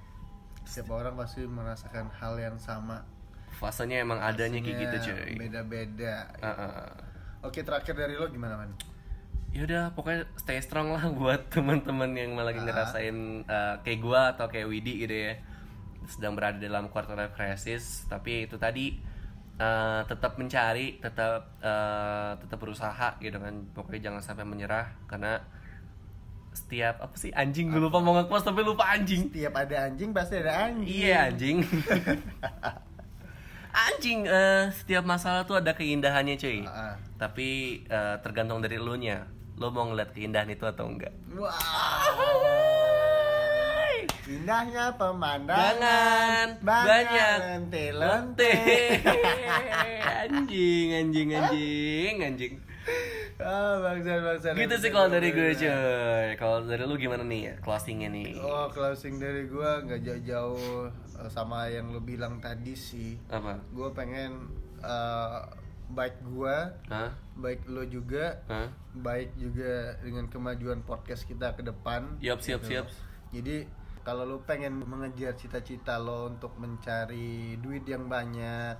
Speaker 2: Setiap orang pasti merasakan hal yang sama.
Speaker 3: Fasenya emang adanya kayak gitu, cuy.
Speaker 2: Ya, Beda-beda.
Speaker 3: Ah, ah, ah.
Speaker 2: Oke, terakhir dari lo gimana, Man?
Speaker 3: ya udah pokoknya stay strong lah [laughs] buat teman-teman yang malah lagi ngerasain uh, kayak gua atau kayak Widi gitu ya sedang berada dalam quarter life crisis tapi itu tadi uh, tetap mencari tetap uh, tetap berusaha gitu kan pokoknya jangan sampai menyerah karena setiap apa sih anjing gue lupa mau nge-post tapi lupa anjing
Speaker 2: Tiap ada anjing pasti ada anjing.
Speaker 3: Iya anjing. [laughs] anjing eh, setiap masalah tuh ada keindahannya cuy.
Speaker 2: Ah.
Speaker 3: Tapi eh, tergantung dari lu nya. Lo mau ngeliat keindahan itu atau enggak?
Speaker 2: Wow. Indahnya pemandangan.
Speaker 3: Jangan banyak
Speaker 2: lente-lente.
Speaker 3: [laughs] anjing, anjing, anjing, anjing.
Speaker 2: Ah, bangsa, bangsa.
Speaker 3: Gitu sih kalau dari gue cuy. Kalau dari lu gimana nih ya closingnya nih?
Speaker 2: Oh, closing dari gua nggak jauh-jauh eh, sama yang lo bilang tadi sih.
Speaker 3: Apa?
Speaker 2: Gue pengen eh, baik gua
Speaker 3: Hah?
Speaker 2: baik lo juga
Speaker 3: Hah?
Speaker 2: baik juga dengan kemajuan podcast kita ke depan
Speaker 3: Siap, siap, siap.
Speaker 2: jadi kalau lo pengen mengejar cita-cita lo untuk mencari duit yang banyak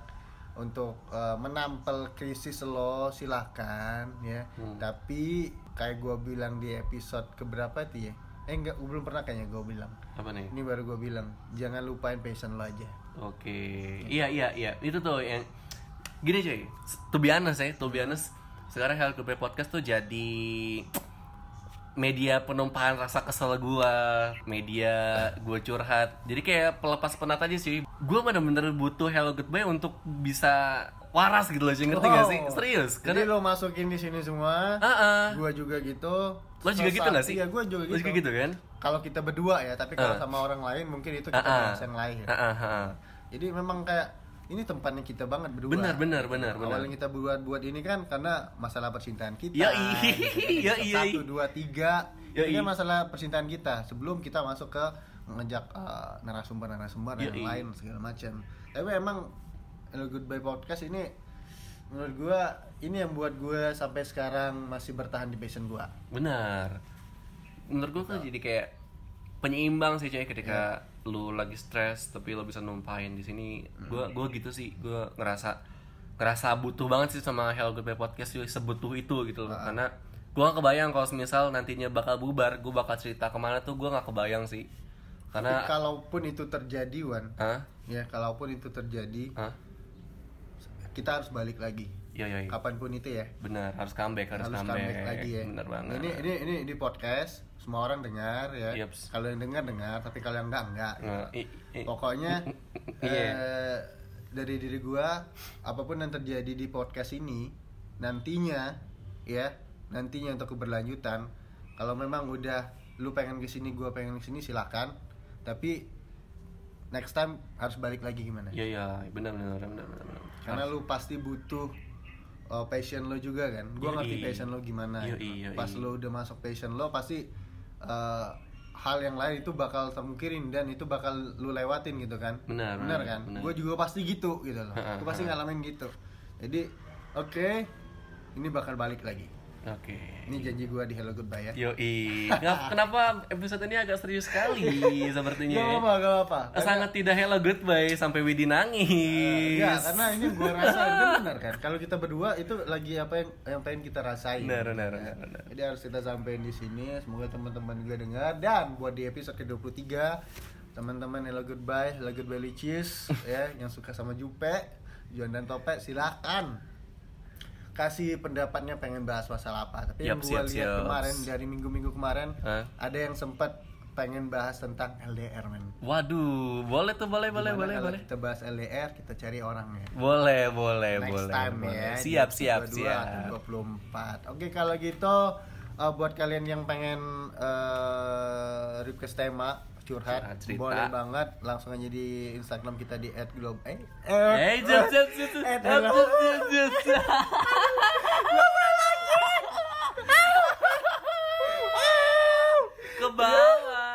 Speaker 2: untuk eh, menampel krisis lo silahkan ya
Speaker 3: Hmm.
Speaker 2: tapi kayak gua bilang di episode keberapa tuh ya eh enggak gua belum pernah kayaknya gua bilang
Speaker 3: Apa nih?
Speaker 2: ini baru gua bilang jangan lupain passion lo aja
Speaker 3: Oke. Iya iya iya. Itu tuh yang gini cuy. To be honest ya, to be honest, sekarang HLKP Podcast tuh jadi media penumpahan rasa kesel gua, media gua curhat. Jadi kayak pelepas penat aja sih. Gua bener-bener butuh Hello Goodbye untuk bisa waras gitu loh, cuy. ngerti gak sih?
Speaker 2: Wow.
Speaker 3: Serius,
Speaker 2: jadi
Speaker 3: karena
Speaker 2: lo masukin di sini semua
Speaker 3: Heeh.
Speaker 2: gua juga gitu
Speaker 3: Lo juga
Speaker 2: Selesai-
Speaker 3: gitu gak sih?
Speaker 2: iya gua juga
Speaker 3: Lo
Speaker 2: gitu,
Speaker 3: juga gitu kan?
Speaker 2: kalau kita berdua ya tapi kalau sama orang lain mungkin itu kita
Speaker 3: Ah, ah.
Speaker 2: bahas yang lain
Speaker 3: Ah, ah, ah.
Speaker 2: jadi memang kayak ini tempatnya kita banget berdua
Speaker 3: Benar, benar, benar, benar.
Speaker 2: awalnya kita buat buat ini kan karena masalah percintaan kita
Speaker 3: Yoi. [laughs]
Speaker 2: Gitu kan.
Speaker 3: Yoi.
Speaker 2: satu dua tiga
Speaker 3: Yoi.
Speaker 2: ini kan masalah percintaan kita sebelum kita masuk ke ngejak eh, narasumber narasumber yang
Speaker 3: Yoi.
Speaker 2: lain segala macam tapi emang Hello Goodbye Podcast ini menurut gua ini yang buat gua sampai sekarang masih bertahan di passion gua
Speaker 3: Benar. Menurut gue tuh jadi kayak penyeimbang sih cuy ketika
Speaker 2: Iya.
Speaker 3: lu lagi stres tapi lu bisa numpahin di sini.
Speaker 2: Hmm.
Speaker 3: Gua gua gitu sih, gua ngerasa ngerasa butuh banget sih sama Hello Goodbye Podcast cuy, sebutuh itu gitu
Speaker 2: Ah.
Speaker 3: loh. Karena gua gak kebayang kalau misal nantinya bakal bubar, gua bakal cerita kemana tuh gua gak kebayang sih.
Speaker 2: Tapi
Speaker 3: Karena
Speaker 2: kalaupun itu terjadi Wan
Speaker 3: Hah?
Speaker 2: ya kalaupun itu terjadi
Speaker 3: Hah?
Speaker 2: kita harus balik lagi
Speaker 3: Iya, iya. iya.
Speaker 2: kapanpun itu ya
Speaker 3: Benar, harus comeback, harus,
Speaker 2: harus comeback, lagi ya
Speaker 3: Benar banget.
Speaker 2: ini ini ini di podcast semua orang dengar ya
Speaker 3: Yeps.
Speaker 2: kalau yang dengar dengar tapi kalau yang enggak enggak gitu.
Speaker 3: Nah, i- i-
Speaker 2: pokoknya
Speaker 3: [laughs] Iya.
Speaker 2: eh, dari diri gua apapun yang terjadi di podcast ini nantinya ya nantinya untuk keberlanjutan kalau memang udah lu pengen kesini gua pengen kesini silakan tapi next time harus balik lagi gimana
Speaker 3: Iya, iya, benar benar benar benar. benar.
Speaker 2: karena lu pasti butuh uh, passion lo juga kan gua
Speaker 3: Yoi.
Speaker 2: ngerti passion lo gimana
Speaker 3: Yoi,
Speaker 2: gitu.
Speaker 3: yoi.
Speaker 2: pas lo udah masuk passion lo pasti uh, hal yang lain itu bakal termungkirin dan itu bakal lu lewatin gitu kan
Speaker 3: Benar, benar,
Speaker 2: kan
Speaker 3: benar.
Speaker 2: gue juga pasti gitu gitu loh gue pasti ngalamin gitu jadi oke ini bakal balik lagi
Speaker 3: Oke.
Speaker 2: ini janji gua di hello goodbye ya
Speaker 3: Yoi, Ngap- [laughs] kenapa episode ini agak serius sekali sepertinya?
Speaker 2: Gak
Speaker 3: ya?
Speaker 2: apa-apa, gak apa
Speaker 3: Sangat tidak hello goodbye sampai Widi nangis.
Speaker 2: Iya, karena ini gua rasa itu benar kan. Kalau kita berdua itu lagi apa yang yang pengen kita rasain.
Speaker 3: Benar, benar,
Speaker 2: Ya.
Speaker 3: benar, benar.
Speaker 2: Jadi harus kita sampaikan di sini. Semoga teman-teman juga dengar dan buat di episode ke-23 teman-teman hello goodbye, hello goodbye licis [laughs] ya yang suka sama Jupe, Juan dan Topet silakan kasih pendapatnya pengen bahas masalah apa tapi
Speaker 3: Yap,
Speaker 2: yang gue
Speaker 3: siap,
Speaker 2: lihat
Speaker 3: siap.
Speaker 2: kemarin dari minggu-minggu kemarin
Speaker 3: Hah?
Speaker 2: ada yang sempat pengen bahas tentang LDR men.
Speaker 3: Waduh, boleh tuh, boleh, boleh,
Speaker 2: Gimana
Speaker 3: boleh,
Speaker 2: kalau
Speaker 3: boleh.
Speaker 2: Kita bahas LDR, kita cari orangnya.
Speaker 3: Boleh, boleh,
Speaker 2: Next
Speaker 3: boleh.
Speaker 2: time
Speaker 3: boleh.
Speaker 2: ya.
Speaker 3: Siap, siap,
Speaker 2: 22
Speaker 3: siap.
Speaker 2: atau 24. Oke, kalau gitu eh, buat kalian yang pengen eh, request tema
Speaker 3: Curhat,
Speaker 2: curhat,
Speaker 3: cerita.
Speaker 2: boleh banget langsung aja di Instagram kita di @globe eh,
Speaker 3: Eh, jut, jut, jut, jut,
Speaker 2: [laughs] Eh,
Speaker 3: jut, jut, jut, jut,
Speaker 2: [laughs]
Speaker 3: jut. Ke bawah,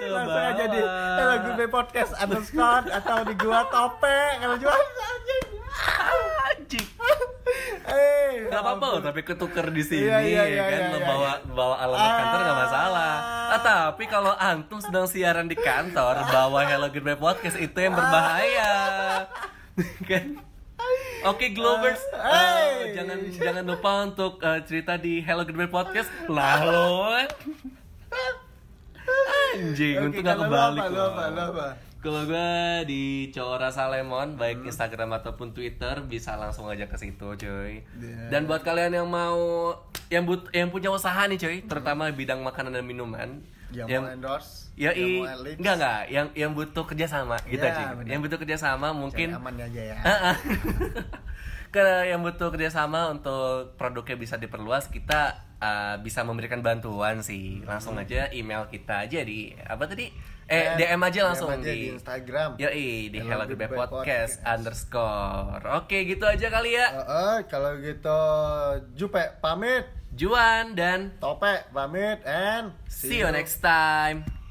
Speaker 3: ke
Speaker 2: langsung
Speaker 3: bawah.
Speaker 2: aja di Hello Globe Podcast underscore atau di gua tope kalau jual anjing.
Speaker 3: Anjing.
Speaker 2: Eh,
Speaker 3: Gak apa-apa loh, tapi ketuker di sini
Speaker 2: Iya, iya,
Speaker 3: ya
Speaker 2: iya,
Speaker 3: kan
Speaker 2: iya, iya.
Speaker 3: membawa bawa alamat kantor nggak masalah. Ah, tapi kalau antum sedang siaran di kantor bawa Hello Goodbye Podcast itu yang berbahaya. [laughs] kan? Oke Globers, eh,
Speaker 2: Ah. Hey.
Speaker 3: jangan jangan lupa untuk eh, cerita di Hello Goodbye
Speaker 2: [laughs]
Speaker 3: Podcast. Lah lo. Anjing,
Speaker 2: Oke,
Speaker 3: untung gak
Speaker 2: kalau lu
Speaker 3: kebalik.
Speaker 2: apa, lu
Speaker 3: loh.
Speaker 2: apa, lu apa?
Speaker 3: Kalau gue di Cora Salemon, baik
Speaker 2: Hmm.
Speaker 3: Instagram ataupun Twitter bisa langsung aja ke situ, cuy.
Speaker 2: Yeah.
Speaker 3: Dan buat kalian yang mau yang but, yang punya usaha nih, cuy, terutama bidang makanan dan minuman,
Speaker 2: Yang, mau endorse,
Speaker 3: ya i,
Speaker 2: yang mau leaks,
Speaker 3: enggak enggak, yang yang butuh kerjasama gitu
Speaker 2: Ya,
Speaker 3: cuy.
Speaker 2: bener.
Speaker 3: Yang butuh kerjasama
Speaker 2: cari
Speaker 3: mungkin
Speaker 2: aman aja ya.
Speaker 3: Ah, ah. [laughs] Karena yang butuh kerjasama untuk produknya bisa diperluas, kita ah, bisa memberikan bantuan sih.
Speaker 2: Hmm.
Speaker 3: Langsung aja email kita aja di apa tadi? Eh, DM aja langsung
Speaker 2: Kan?
Speaker 3: Ya.
Speaker 2: aja di, Instagram.
Speaker 3: Yoi, di
Speaker 2: Hello
Speaker 3: Hello Goodbye
Speaker 2: Goodbye
Speaker 3: Podcast
Speaker 2: Podcast.
Speaker 3: underscore. Oke, gitu aja kali ya.
Speaker 2: Heeh, kalau gitu Jupe pamit,
Speaker 3: Juan dan
Speaker 2: Tope pamit and
Speaker 3: see you next time.